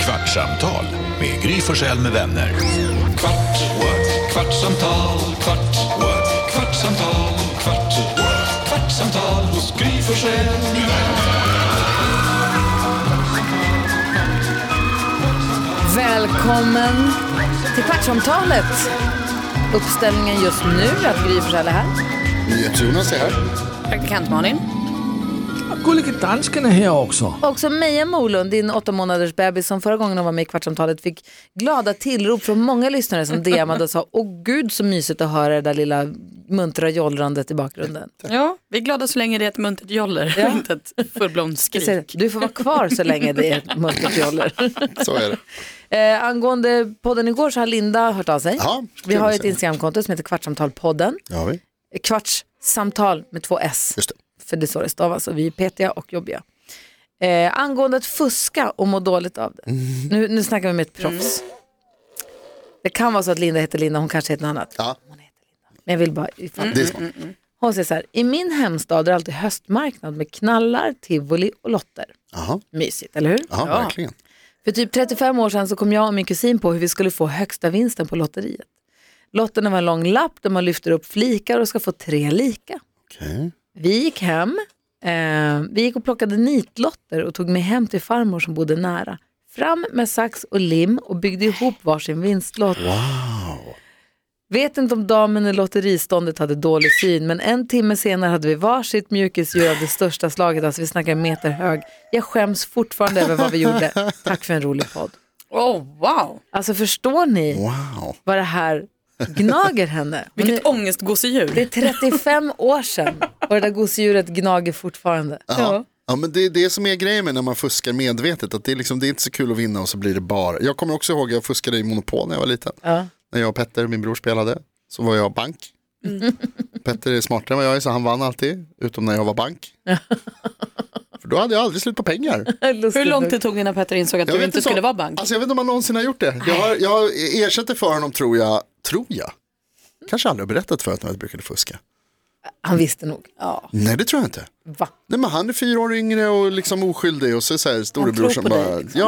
Kvartsamtal med Gry Forssell med vänner. Kvart, what? kvartsamtal, kvart, what? kvartsamtal, kvart, what? kvartsamtal hos Gry Forssell med vänner. Välkommen till Kvartsamtalet. Uppställningen just nu är att Gry Forssell är här. NyhetsJonas är här. Praktikant Malin. Gullige dansken är här också. Också Meja Molund, din åtta månaders bebis som förra gången hon var med i Kvartsamtalet fick glada tillrop från många lyssnare som DMade och sa Åh gud så mysigt att höra det där lilla muntra jollrandet i bakgrunden. Ja, vi är glada så länge det är ett muntert joller, inte ett fullblom Jag säger, skrik. Du får vara kvar så länge det är ett muntert joller. Så är det. Eh, angående podden igår så har Linda hört av sig. Ja, Vi har ju ett trevligt. Instagramkonto som heter Kvartsamtalpodden. Ja, vi. Kvartssamtal med två S. Just det. För det är så det stavas och vi är petiga och jobbiga. Eh, angående att fuska och må dåligt av det. Mm. Nu, nu snackar vi med ett proffs. Det kan vara så att Linda heter Linda, hon kanske heter något annat. Ja, Mm. Men jag vill bara ifall. det är smart. Hon säger så här, i min hemstad är det alltid höstmarknad med knallar, tivoli och lotter. Jaha, Mysigt, eller hur? ja. verkligen. För typ 35 år sedan så kom jag och min kusin på hur vi skulle få högsta vinsten på lotteriet. Lotten var en lång lapp där man lyfter upp flikar och ska få tre lika. Okej. Vi gick hem, eh, vi gick och plockade nitlotter och tog med hem till farmor som bodde nära. Fram med sax och lim och byggde ihop varsin vinstlott. Wow. Vet inte om damen i lotteriståndet hade dålig syn, men en timme senare hade vi varsitt mjukisdjur av det största slaget, alltså vi snackar meter hög. Jag skäms fortfarande över vad vi gjorde. Tack för en rolig podd. Oh, wow, Alltså förstår ni? Wow. vad det här gnager henne. Hon vilket är, ångestgosedjur. det är 35 år sedan och det där gosedjuret gnager fortfarande. Ja. Ja, men det är det som är grejen med när man fuskar medvetet. Att det, är liksom, det är inte så kul att vinna och så blir det bara. Jag kommer också ihåg att jag fuskade i Monopol när jag var liten. Ja. När jag och Petter, min bror, spelade så var jag bank. Mm. Petter är smartare än vad jag är så han vann alltid. Utom när jag var bank. För då hade jag aldrig slut på pengar. Hur lång tid tog det innan Petter insåg att Jag du vet inte inte skulle så- vara bank? Alltså jag vet inte om han någonsin har gjort det. Jag, har, jag har ersätter för honom tror jag, tror jag. Kanske aldrig har berättat för att jag brukade fuska. Han visste nog. Nej det tror jag inte. Va? Nej men han är fyra år yngre och liksom oskyldig och så är så här storebror tror som på dig, bara, ja.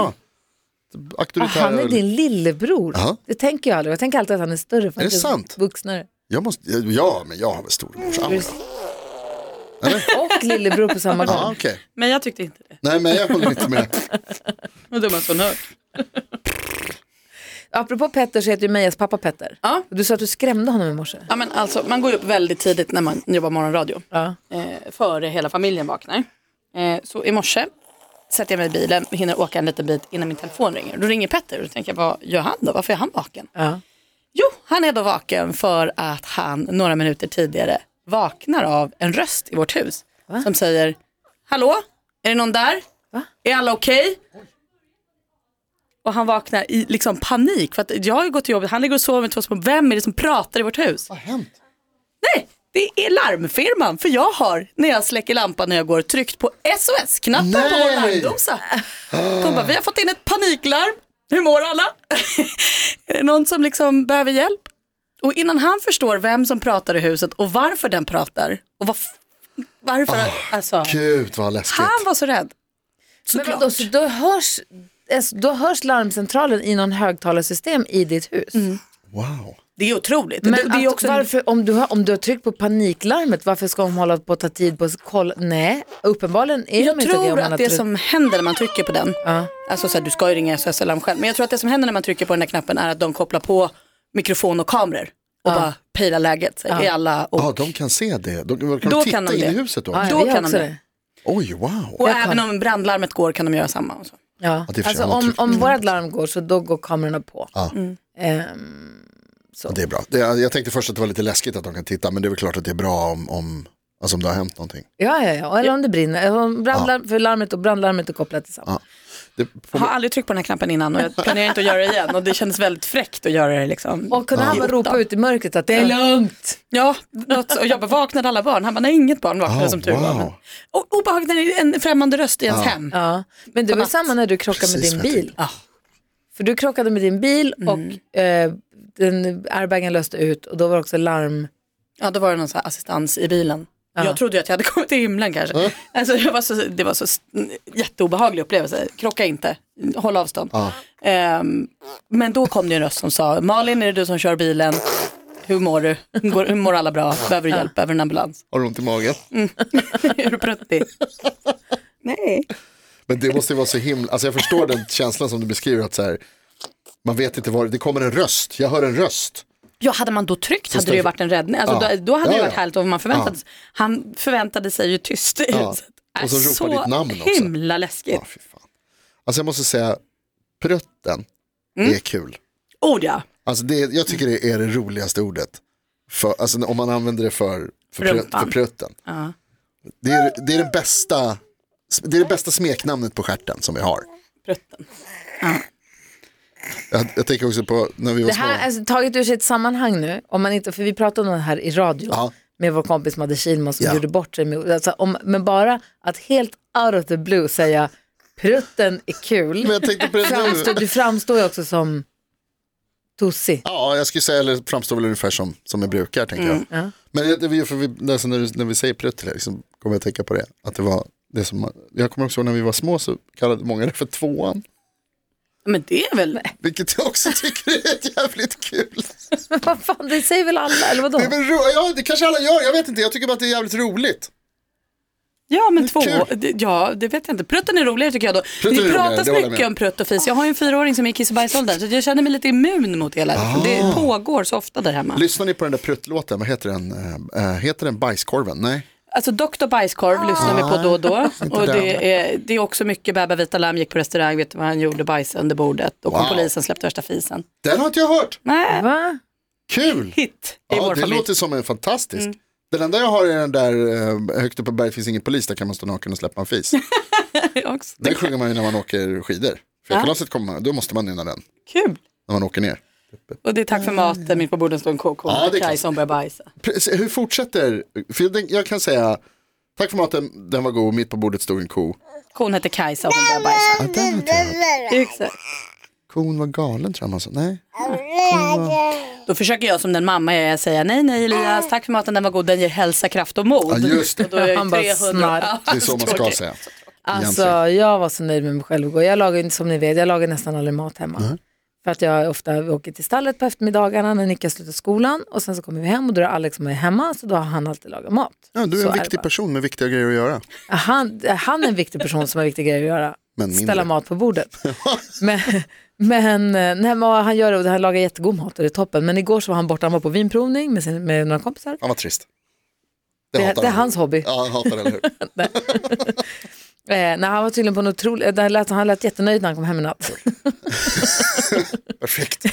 Ah, Auktoritär. han är din lillebror. Ja. Det tänker jag aldrig. Jag tänker alltid att han är större. För Är han det sant? Vuxnare. jag måste, ja men jag har väl storebrorsan. Och lillebror på samma gång. Ja okej. Men jag tyckte inte det. Nej men jag håller inte med. Vad dumma som hört. Apropå Petter så heter ju Mejas pappa Petter. Ja. Du sa att du skrämde honom i morse. Ja, men alltså, man går ju upp väldigt tidigt när man jobbar morgonradio. Ja. Eh, före hela familjen vaknar. Eh, så i morse sätter jag mig i bilen, hinner åka en liten bit innan min telefon ringer. Då ringer Petter och då tänker jag, vad gör han då? Varför är han vaken? Ja. Jo, han är då vaken för att han några minuter tidigare vaknar av en röst i vårt hus som säger Hallå, är det någon där? Va? Är alla okej? Och han vaknar i liksom panik för att jag har ju gått till jobbet, han ligger och sover med två små, vem är det som pratar i vårt hus? Vad har hänt? Nej, det är larmfirman för jag har när jag släcker lampan när jag går tryckt på SOS-knappen på vår Nej. larmdosa. De bara, vi har fått in ett paniklarm, hur mår alla? är det någon som liksom behöver hjälp? Och innan han förstår vem som pratar i huset och varför den pratar och vad f- varför, alltså, Ah, Gud vad läskigt. han var så rädd. Men Såklart. vadå, så då, hörs, alltså, då hörs larmcentralen i någon högtalarsystem i ditt hus? Wow. Det är otroligt. Men Mm. det, det är att, också en varför, om, du har, om du har tryckt på paniklarmet, varför ska de hålla på att ta tid på att kolla? Nej, uppenbarligen är Jag de inte det. om tror man har att det tryckt- som händer när man trycker på den, Ja. alltså så här, du ska ju ringa SOS Alarm själv, men jag tror att det som händer när man trycker på den där knappen är att de kopplar på mikrofon och kameror och bara pejlar läget. Så Är alla och, Ja de kan se det. De, kan de Då titta kan de in det. i huset då? Ja, då vi har kan de också det. det. Oj wow. och även om brandlarmet går kan de göra samma. Och så. Ja. Ja, det är för sig alltså, annat om, tryck. om vårt larm går så då går kamerorna på. Ja. Ehm, så. Det är bra. Det, jag tänkte först att det var lite läskigt att de kan titta men det är väl klart att det är bra om, om, alltså om det har hänt någonting. Ja, ja, ja. Eller om det brinner. Om brandlarm, För larmet och brandlarmet är kopplat till samma. Det, Jag har aldrig tryckt på den här knappen innan och jag planerar inte att göra det igen och det kändes väldigt fräckt att göra det liksom. Och kunde han bara ropa ut i mörkret att det är lugnt. Ja, något, och jag bara vaknade alla barn? Han bara, nej inget barn vaknade Oh, som tur var. wow. Men- Och obehagligt när det är en främmande röst i ens hem. Ah. Ja. Men det var ju Natt. samma när du krockade Precis med din vad jag bil. tänkte. Ja. För du krockade med din bil och eh, den airbagen löste ut och då var det också larm. Ja, då var det någon så här assistans i bilen. Jag trodde ju att jag hade kommit till himlen kanske. Alltså, jag var så, det var så s- jätteobehaglig upplevelse. Krocka inte, håll avstånd. Ehm, men då kom det en röst som sa, Malin är det du som kör bilen? Hur mår du? Går, hur mår alla bra? Behöver du hjälp? Behöver du en ambulans? Har du ont i magen? är du pruttig? Nej. Men det måste ju vara så himla, alltså jag förstår den känslan som du beskriver att så här, man vet inte var, det kommer en röst, jag hör en röst. Ja, hade man då tryckt hade det ju ställ- varit en räddning. Alltså, Ja. då, då hade Ja, det ja. varit härligt om man förväntade sig. Han förväntade sig ju tyst. Ja. Så, Och så ropar ditt namn också. himla läskigt. Ja, fy fan. Alltså jag måste säga, prutten är kul. Ord Oh, ja. Alltså det, jag tycker det är det roligaste ordet. För, alltså om man använder det för, för, prut, Rumpan. för prutten. Det, är, det, är det, bästa, det är det bästa smeknamnet på stjärten som vi har. Prutten. Jag, jag tänker också på när vi var Det små. här är taget ur sitt sammanhang nu, om man inte, för vi pratade om det här i radio Ja. med vår kompis Madde Kihlman som Ja. gjorde bort sig. Med, alltså, om, men bara att helt out of the blue säga prutten är Men kul, jag tänkte på det framstår, nu. du framstår ju också som tossig. Ja, jag skulle säga, eller framstår väl ungefär som, som jag brukar, tänker Mm. jag. Men det, det, är ju för vi, alltså när, du, när vi säger prutt, liksom, kommer jag att tänka på det. Att det var det som, jag kommer också ihåg när vi var små så kallade många det för tvåan. Men det är väl... Vilket jag också tycker är jävligt kul. Men vad fan, det säger väl alla, eller vadå? Det, är väl ro, ja, det kanske alla gör, jag vet inte. Jag tycker bara att det är jävligt roligt. Ja, men två... kul. det- Ja, det vet jag inte. Prutten är roligare tycker jag då. Prutten är det roligare, pratas det håller jag mycket med. om prutt och fis. Jag har ju en fyraåring som är i kiss och bajsåldern, så jag känner mig lite immun mot det hela. Det Ah. pågår så ofta där hemma. Lyssnar ni på den där pruttlåten? Vad heter den? Eh, eh, heter den Bajskorven? Nej. Alltså Dr. Bajskorv lyssnar vi Ah. på då och då. Och det är, det är också mycket Bäba Vita Lamm gick på restaurang, vet du vad han gjorde, bajs under bordet. Och Wow. polisen släppte värsta fisen. Den har inte jag hört. Nej, Va? Kul! hit i Ja, vår det familj. låter som en fantastisk. Mm. Den enda jag har är den där eh, högt upp på berget finns ingen polis, där kan man stå naken och släppa en fis. också. Den sjunger man ju när man åker skidor. Fjällkalaset kommer man, då måste man nynna den Kul. när man åker ner. Och det är tack för maten, mitt på bordet står en koko Ja, det är ja, klart. som börjar bajsa. Precis, Hur fortsätter, för jag, tänk- jag kan säga, tack för maten, den var god, mitt på bordet stod en ko. Kon heter Kajsa och hon börjar bajsa. Ja, den har inte jag hört. Exakt. Kon var galen tror jag man sa, nej. Då försöker jag som den mamma jag är säga nej, nej Elias, tack för maten, den var god, den ger hälsa, kraft och mod. Ja, just det. Och då är Han jag bara ju 300. snarr. Ja, Det är så man ska tråkigt. säga. Alltså Egentligen. jag var så nöjd med mig själv igår. Jag lagar ju inte som ni vet, jag lagar nästan aldrig mat hemma. För att jag ofta åker till stallet på eftermiddagarna när Nicka slutar skolan och sen så kommer vi hem och då är Alex som är hemma så då har han alltid lagat mat. Ja, du Så är en det viktig bara. person med viktiga grejer att göra. Han, han är en viktig person som har viktiga grejer att göra. Men mindre. Ställa mat på bordet. men men, eh, nej, men vad han gör det och han lagar jättegod mat och det är toppen. Men igår så var han borta, han var på vinprovning med, sin, med några kompisar. Han var trist. Det, hatar det är han. hans hobby. Ja, han hatar det, eller hur? Eh, nej, han var tydligen på en otrolig, eh, där lät, han lät jättenöjd när han kom hem i natt. Perfekt.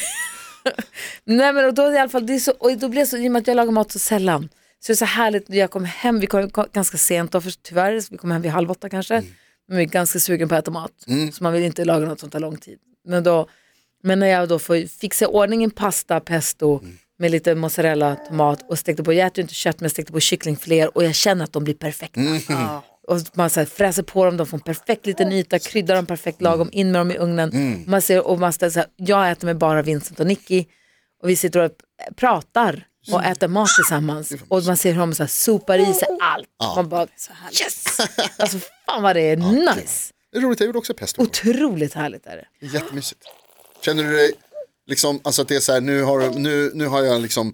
Nej men och då i alla fall, det är så, och då blir det så, i och med att jag lagar mat så sällan, så det är så härligt när jag kom hem, vi kom, kom ganska sent då för, tyvärr, så vi kom hem vid halv åtta kanske, men vi är ganska sugen på att äta mat, så man vill inte laga något som tar lång tid. Men, då, men när jag då får fixa i ordning en pasta, pesto, med lite mozzarella, tomat och stekte på, jag äter ju inte kött men jag stekte på kycklingfiléer och jag känner att de blir perfekta. Och man så här fräser på dem, de får en perfekt liten yta, kryddar dem perfekt lagom, in med dem i ugnen. Man ser, och man ställer så här, jag äter med bara Vincent och Nicky och vi sitter och pratar och äter mat tillsammans. Och man ser hur de så här sopar i sig allt. Man bara, yes! Alltså fan vad det är nice. Det är roligt, jag gjorde också pesto. Otroligt härligt är det. Jättemysigt. Känner du dig, liksom, alltså att det är så här, nu har, nu, nu har jag liksom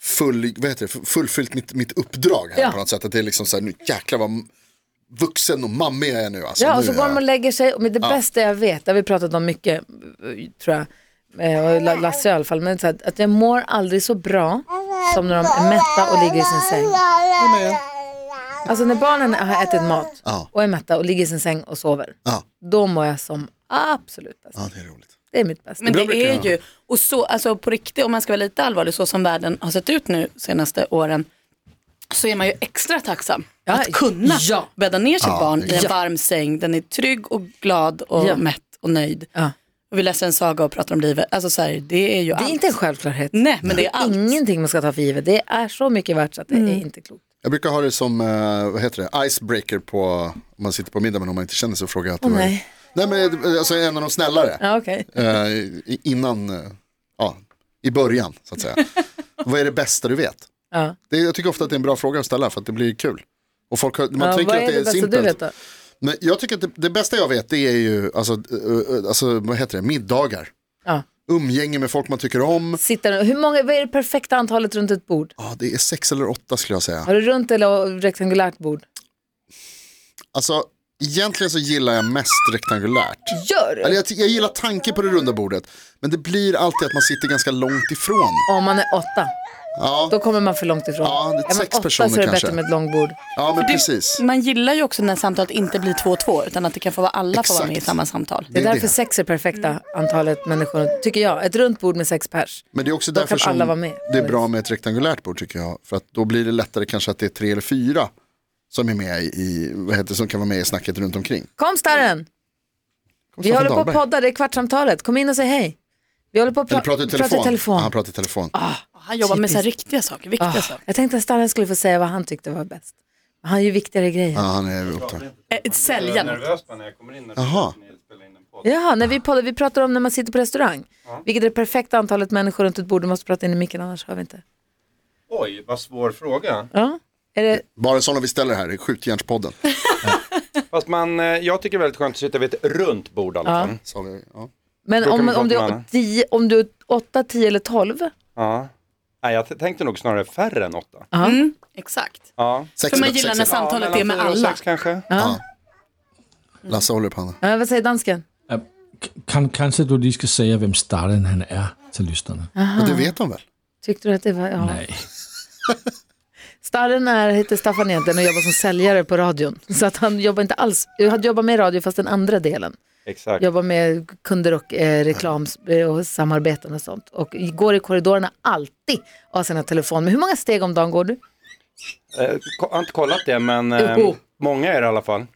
full, vad heter det, fullfyllt mitt, mitt uppdrag här Ja. på något sätt. Att det är liksom så här, nu jäklar vad vuxen och mammig jag är nu. Alltså, Ja, nu och så är går jag- man och lägger sig. Och med det bästa jag vet, det har vi pratat om mycket, eh, tror jag, Eh, och La- Lasse i alla fall, men så att, att jag mår aldrig så bra som när de är mätta och ligger i sin säng. Alltså när barnen har ätit mat Ja. och är mätta och ligger i sin säng och sover, Ja. då mår jag som absolut bäst. ja, det är roligt. Det är mitt bästa. Men Ibland det brukar är jag- ju, och så, alltså på riktigt, om man ska vara lite allvarlig, så som världen har sett ut nu senaste åren, så är man ju extra tacksam Ja, att kunna ja. bädda ner sitt barn i en Ja. varm säng, den är trygg och glad och Ja. mätt och nöjd. Ja. Och vi läser en saga och pratar om livet, alltså så här, det är ju Det allt. är inte en självklarhet. Nej, men det är allt. Mm. Ingenting man ska ta för givet. Det är så mycket värt så att det är inte klokt. Jag brukar ha det som, eh, vad heter det, icebreaker på, om man sitter på middag men om man inte känner sig frågar jag alltid. Åh, vad- nej. nej men eh, alltså en av de snällare. Ja, okej. Eh, i- innan, eh, ja, i början så att säga. vad är det bästa du vet? Ja. Det, jag tycker ofta att det är en bra fråga att ställa för att det blir kul. Och folk, har- man ja, tänker vad att är det det är bästa du vet simpelt. då? Men jag tycker att det, det bästa jag vet det är ju, alltså, eh, eh, alltså vad heter det, middagar. Ja. Umgänge med folk man tycker om. Sitter, hur många, vad är det perfekta antalet runt ett bord? Ja, det är sex eller åtta skulle jag säga. Har du runt eller rektangulärt bord? Alltså, egentligen så gillar jag mest rektangulärt. Gör du? Eller jag, ty- jag gillar tanken på det runda bordet. Men det blir alltid att man sitter ganska långt ifrån. Om man är åtta, Ja, då kommer man för långt ifrån. Ja, det är man sex åtta personer så är det kanske. bättre med ett långbord. ja men precis. Man gillar ju också när samtalet inte blir två och två, utan att det kan få vara alla får vara med i Exakt. samma samtal. Det är Det är därför det. sex är perfekta antalet människor, tycker jag. Ett runt bord med sex pers. Men det är också Då därför kan alla vara som med. det är bra med ett rektangulärt bord tycker jag. För att då blir det lättare kanske att det är tre eller fyra som är med i, vad heter det, som kan vara med i snacket runt omkring. Kom starren! Vi håller på att podda, det är kvartsamtalet. Kom in och säg hej. Vi håller på att pra- Eller pratar i telefon. prata i telefon. Ja, Han pratar i telefon. Han jobbar med så här riktiga saker, viktiga Ah, saker. jag tänkte att Starren skulle få säga vad han tyckte var bäst. Men Han är ju viktigare grejer. Ja, han är upptagen. Eh, Sälja något. nervös när jag kommer in när Jaha. ni spelar in en podd. Jaha, när vi, poddar, vi pratar om när man sitter på restaurang. Vilket är det perfekta antalet människor runt ett bord. Du måste prata in i micken annars hör vi inte. Oj, vad svår fråga. Ja. Är det, Bara en sån om vi ställer här, i Skjutjärnspodden. Fast man, eh, jag tycker det är väldigt skönt att sitta vid ett runt bord alltså. i alla Ja. fall. Så har vi- ja. men Då kan om, vi prata om, du, med är varandra. tio, om du är 8, 10 eller 12? Ja. Nej, jag t- tänkte nog snarare färre än åtta. Mm, exakt. Ja. Sex För man eller- gillar sex när eller- samtalet mellan är med fyra och alltså, alla. Sex kanske. Ja. Lasse håller upp handen. Ja, vad säger dansken? Kan, kanske du lige skal sige, hvem starten han er til lysterne. Men det vet de väl? Tyckte du att det var... Ja. Nej. Starren är, heter Staffan egentligen och jobbar som säljare på radion. Så att han jobbar inte alls, han jobbar med radio fast den andra delen. Exakt. Jobbar med kunder och eh, reklam eh, och samarbeten och sånt. Och går i korridorerna alltid och har sina telefoner. Men hur många steg om dagen går du? Eh, ko- har inte kollat det, men eh, Jo. många är det i alla fall.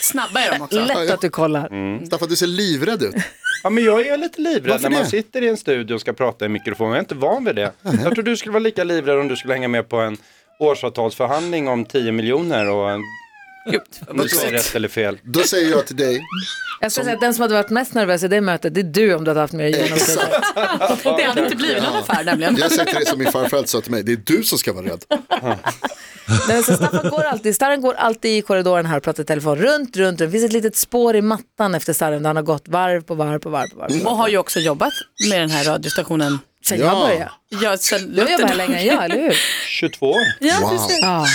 Snabba är de också. Lätt att du kollar. Mm. Staffan, du ser livrädd ut. Ja, men jag är lite livrädd Varför när man det? sitter i en studio och ska prata i mikrofon. Jag är inte van vid det. Jag tror du skulle vara lika livrädd om du skulle hänga med på en årsavtalsförhandling om 10 miljoner och en, Gud, om du säger rätt eller fel. Då säger jag till dig, Jag skulle säga att den som hade varit mest nervös i det mötet, det är du om du hade haft mer genomsnitt. Det hade inte blivit någon affär nämligen. jag säger till dig som min farfar alltid sa till mig, det är du som ska vara rädd. Nej, så Staffan går alltid, Starren går alltid i korridoren här och pratar i telefon. Runt, runt, runt. Det finns ett litet spår i mattan efter Starren där han har gått varv på varv på varv på varv. Och har ju också jobbat med den här radiostationen. Sen jag Ja. började. Jag, sen Du har jobbat här längre än jag, eller hur? 22 år. Ja, Wow, precis. Ja.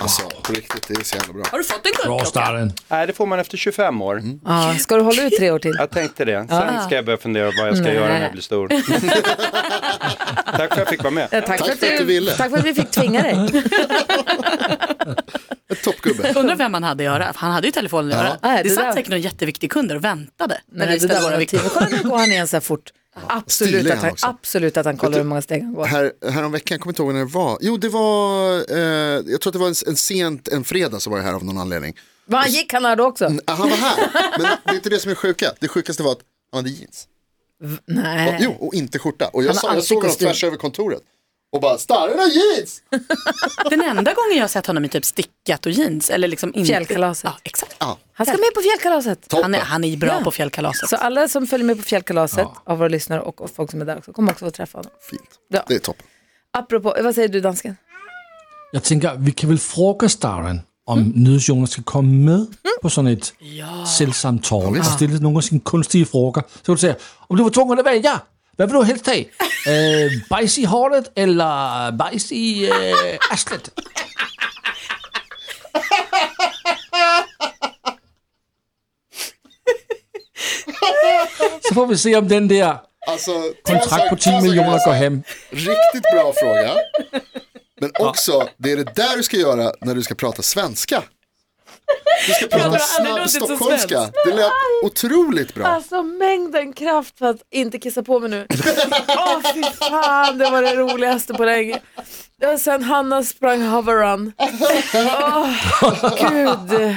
alltså på riktigt, det är så jävla bra. Har du fått en Bra guldklocka? starten. Nej, det får man efter 25 år. Ja, ska du hålla ut tre år till? Jag tänkte det. Sen ska jag börja fundera på vad jag ska Nej. göra när jag blir stor. Tack för att jag fick vara med. Ja, tack, för att du ville. Tack för att vi fick tvinga dig. Ett toppgubbe. Undrar vem han hade i örat. Han hade ju telefonen i örat. Nej, det Det där- satt säkert någon jätteviktig kund och väntade. När Nej, vi det ställde där våra var viktiga viktigt. Kolla nu går han igen så här fort. Absolut Stilig att, han han, också. absolut att han kollar hur många steg han går. Här, häromveckan, jag kommer inte ihåg när det var. Jo, det var, eh, jag tror att det var en, en sent, en fredag så var jag här av någon anledning. Va, han gick han här då också? Ah, Han var här, men det är inte det som är sjuka. Det sjukaste var att han hade jeans. Och, Nej. jo, och inte skjorta. Och Eh. Han jag, har sa, jag alltid såg honom kostym. tvärs över kontoret. Och bara, starren har jeans! Den enda gången jag har sett honom i typ stickat och jeans. Eller liksom inte... Fjällkalaset. Ja, exakt. Ja, Han ska med på fjällkalaset. Han är, han är bra Ja. på fjällkalaset. Så alla som följer med på fjällkalaset av våra lyssnare och, och folk som är där också kommer också få träffa honom. fint. Ja. Det är toppen. Apropå, vad säger du dansken? Jeg tænker, vi kan vel fråga starten, om nyhedsjoner skal komme med på sådan et selvsamtale og stille nogle af sine kunstige frågor. Så kan du sige, om du var tvungen at vælge, hvad vil du helst have? Øh, bajs i håret eller bajs i øh, arslet? Så får vi se om den der Alltså, kontrakt på 10 millioner går hem. Riktigt bra fråga. Men också, det är det där du ska göra när du ska prata svenska. Du ska prata snabb stockholmska. Det lät otroligt bra. Alltså mängden kraft för att inte kissa på mig nu. Åh fy fan, det var det roligaste på länge. Det var sen Hanna sprang hover run. Åh, gud.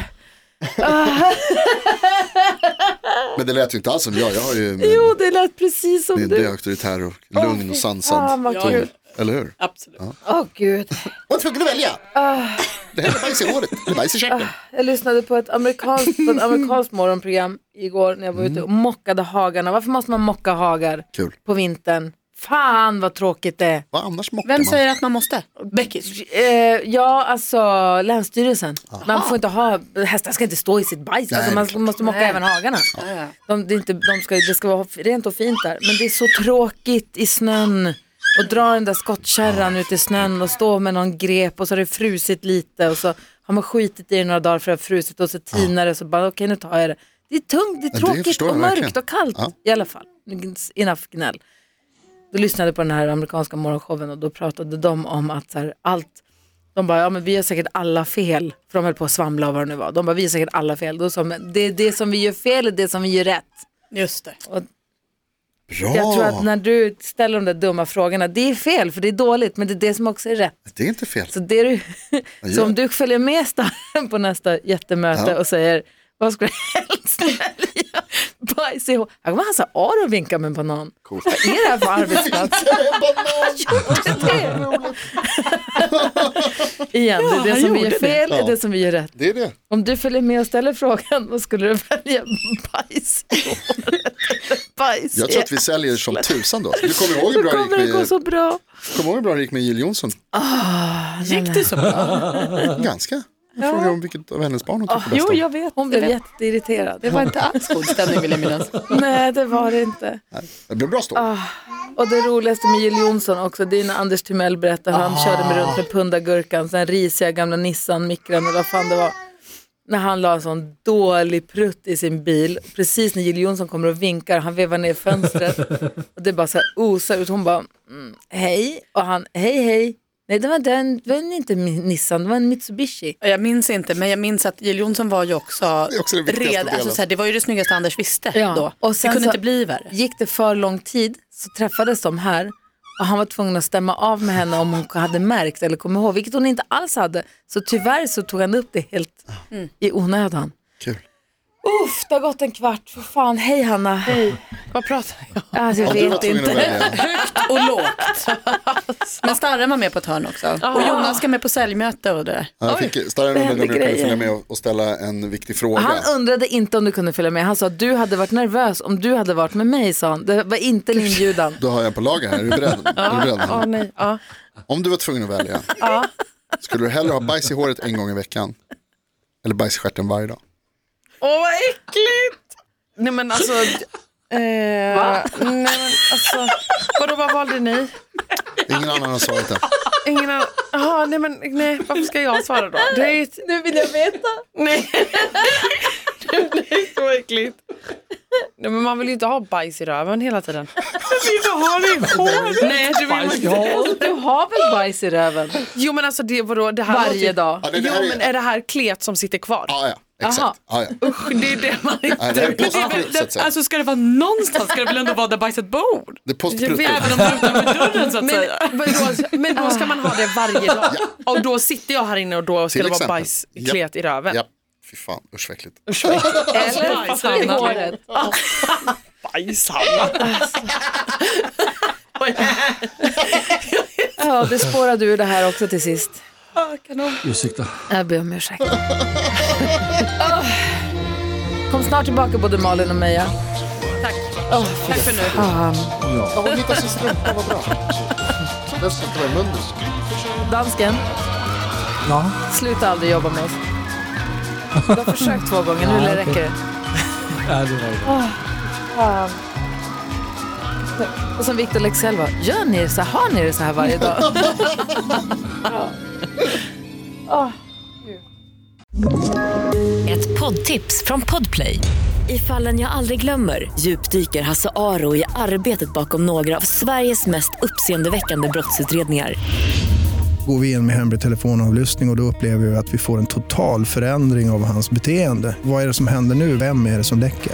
Men det lät ju inte alls som jag. Jag har ju Jo, min, det lät precis som min det är du. auktoritär och lugn och fan, sansad vad ton. kul. Eller hur? Absolut. Åh gud. Var tvungen att välja. Ah. Det här är bajs i håret, det är bajs i käften. Jag lyssnade på ett amerikanskt, på ett amerikanskt Mm. morgonprogram igår när jag var ute och mockade hagarna. Varför måste man mocka hagar Kul. på vintern? Fan vad tråkigt det är. Vad annars mockar Vem man? säger att man måste? Beckis. Eh, ja, alltså länsstyrelsen. Man får inte ha, hästar ska inte stå i sitt bajs. Nej, det är alltså, man måste mocka Nej. även hagarna. De, det, är inte, de ska, det ska vara rent och fint där. Men det är så tråkigt i snön. Och dra den där skottkärran ut i snön och stå med någon grep och så har det frusit lite och så har man skitit i det några dagar för att det har frusit och så tinar det så bara okej nu tar jag det. Det är tungt, det det är tråkigt förstår jag och mörkt verkligen. och kallt Ja. i alla fall. Enough gnäll då lyssnade jag på den här amerikanska morgonshowen och då pratade de om att så här, allt, de bara, ja men vi har säkert alla fel, för de höll på att svamla och vad det nu var. De bara, vi har säkert alla fel. Då sa de, men det är det som vi gör fel och det som vi gör rätt. Just det. Bra! Jag tror att när du ställer de där dumma frågorna, det är fel för det är dåligt, men det är det som också är rätt. Det är inte fel. Så, det du, så om du följer med Starren på nästa jättemöte Ja. och säger, vad skulle du helst välja? Bajs i hå-" Här kommer Hansa Aro vinka med en banan. Vad är det här för arbetsplats? Igen, det är det han som vi gjorde gör fel, det är Ja. det som vi gör rätt. Det är det. Om du följer med och ställer frågan, vad skulle du välja? Bajs i håret eller bajs Jag tror att vi säljer som tusan då. Du kommer ihåg hur Hur bra det gick kommer det gå med, så bra? kommer ihåg hur bra det gick med Jill Johnson? Gick det så bra? Ganska. Jag frågade om vilket av hennes barn hon tycker bäst Ah, Jo, om. jag vet. Hon blev jätteirriterad. Det var inte alls God stämning vill jag minnas. Nej, det var det inte. Det blev bra stopp. Ah. Och det roligaste med Jill Johnson också, det är när Anders Timell berättar hur han körde med runt med pundagurkan, den risiga gamla Nissan, mikran eller vad fan det var. När han la en sån dålig prutt i sin bil, precis när Jill Johnson kommer och vinkar, han vevar ner fönstret och det bara så här osar ut. Hon bara, mm, hej, och han, hej, hej. Nej, det var, den, det var inte min Nissan, det var en Mitsubishi. Jag minns inte, men jag minns att Jill Johnson var ju också, Det är också det viktigaste red, delen. alltså, så här, det var ju det snyggaste Anders visste Ja. då. Och sen det kunde så- inte bli värre. Gick det för lång tid så träffades de här och han var tvungen att stämma av med henne om hon hade märkt eller kom ihåg, vilket hon inte alls hade. Så tyvärr så tog han upp det helt Mm. i onödan. Kul. Uff, det har gått en kvart. För fan, hej Hanna. Hej. Vad pratar jag om? Alltså, jag Ja, du var vet tvungen inte. att välja. Högt och lågt. Men Starren var med på ett hörn också. Och Jonas ska med på säljmöte och det där. Ja, Jag fick starkare händer nummer när brukade grejer. följa med och- och ställa en viktig fråga. Han undrade inte om du kunde följa med. Han sa du hade varit nervös om du hade varit med mig, sa han. Det var inte en inbjudan. Då har jag en på lager här, är du beredd? Är du beredd? Ja, nej. Ja. Om du var tvungen att välja, skulle du hellre ha bajs i håret en gång i veckan? Eller bajs i stjärten varje dag? Åh vad äckligt! Nej men alltså... Eh, nej men alltså, vadå vad valde ni? Ingen annan har svarat det. Ingen annan, aha, nej men nej, varför ska jag svara då? Det är ju ett, Nu vill jag veta. nej. Det är så äckligt. Nej men man vill ju inte ha bajs i röven hela tiden. Nej du vill man Bajs i inte. håret. Du har väl bajs i röven Jo men alltså det, vadå, det här låter ju- varje dag? Ja, det, det Jo här men är... är det här klet som sitter kvar? "Ah, Ja, ja, Aha. exakt. Ja, ja. Usch, det är det man inte... Nej, det här är Men det är positivt, väl- så att säga. Alltså ska det vara någonstans ska det väl ändå vara där bajset bor? Det är Jag vet, postproduktion. Även om det är utanför dörren så att Men- säga. Men då, men då ska man ha det varje dag. Och då sitter jag här inne och då ska Till det vara exempel. bajsklet i röven. Ja, fy fan, usch vad äckligt. Bajs, Eller i Hanna. håret? Bajs, Hanna. Ja, det spårade ur det här också till sist. Ursäkta. Jag ber om ursäkt. Åh. Kom snart tillbaka både Malin och Meja. Tack för nu. Ja, hon hittade sin strumpa, vad bra. Den ska inte vara i munnen. Dansken, Ja. sluta aldrig jobba med oss. Du har försökt två gånger, nu räcker det. Ja, det var det. Och som Victor Leksell var, gör ni det så här, har ni det så här varje dag? Ett poddtips från Podplay. I fallen jag aldrig glömmer djupdyker Hasse Aro i arbetet bakom några av Sveriges mest uppseendeväckande brottsutredningar. går vi in med hemlig telefonavlyssning och, och då upplever vi att vi får en total förändring av hans beteende. Vad är det som händer nu? Vem är det som läcker?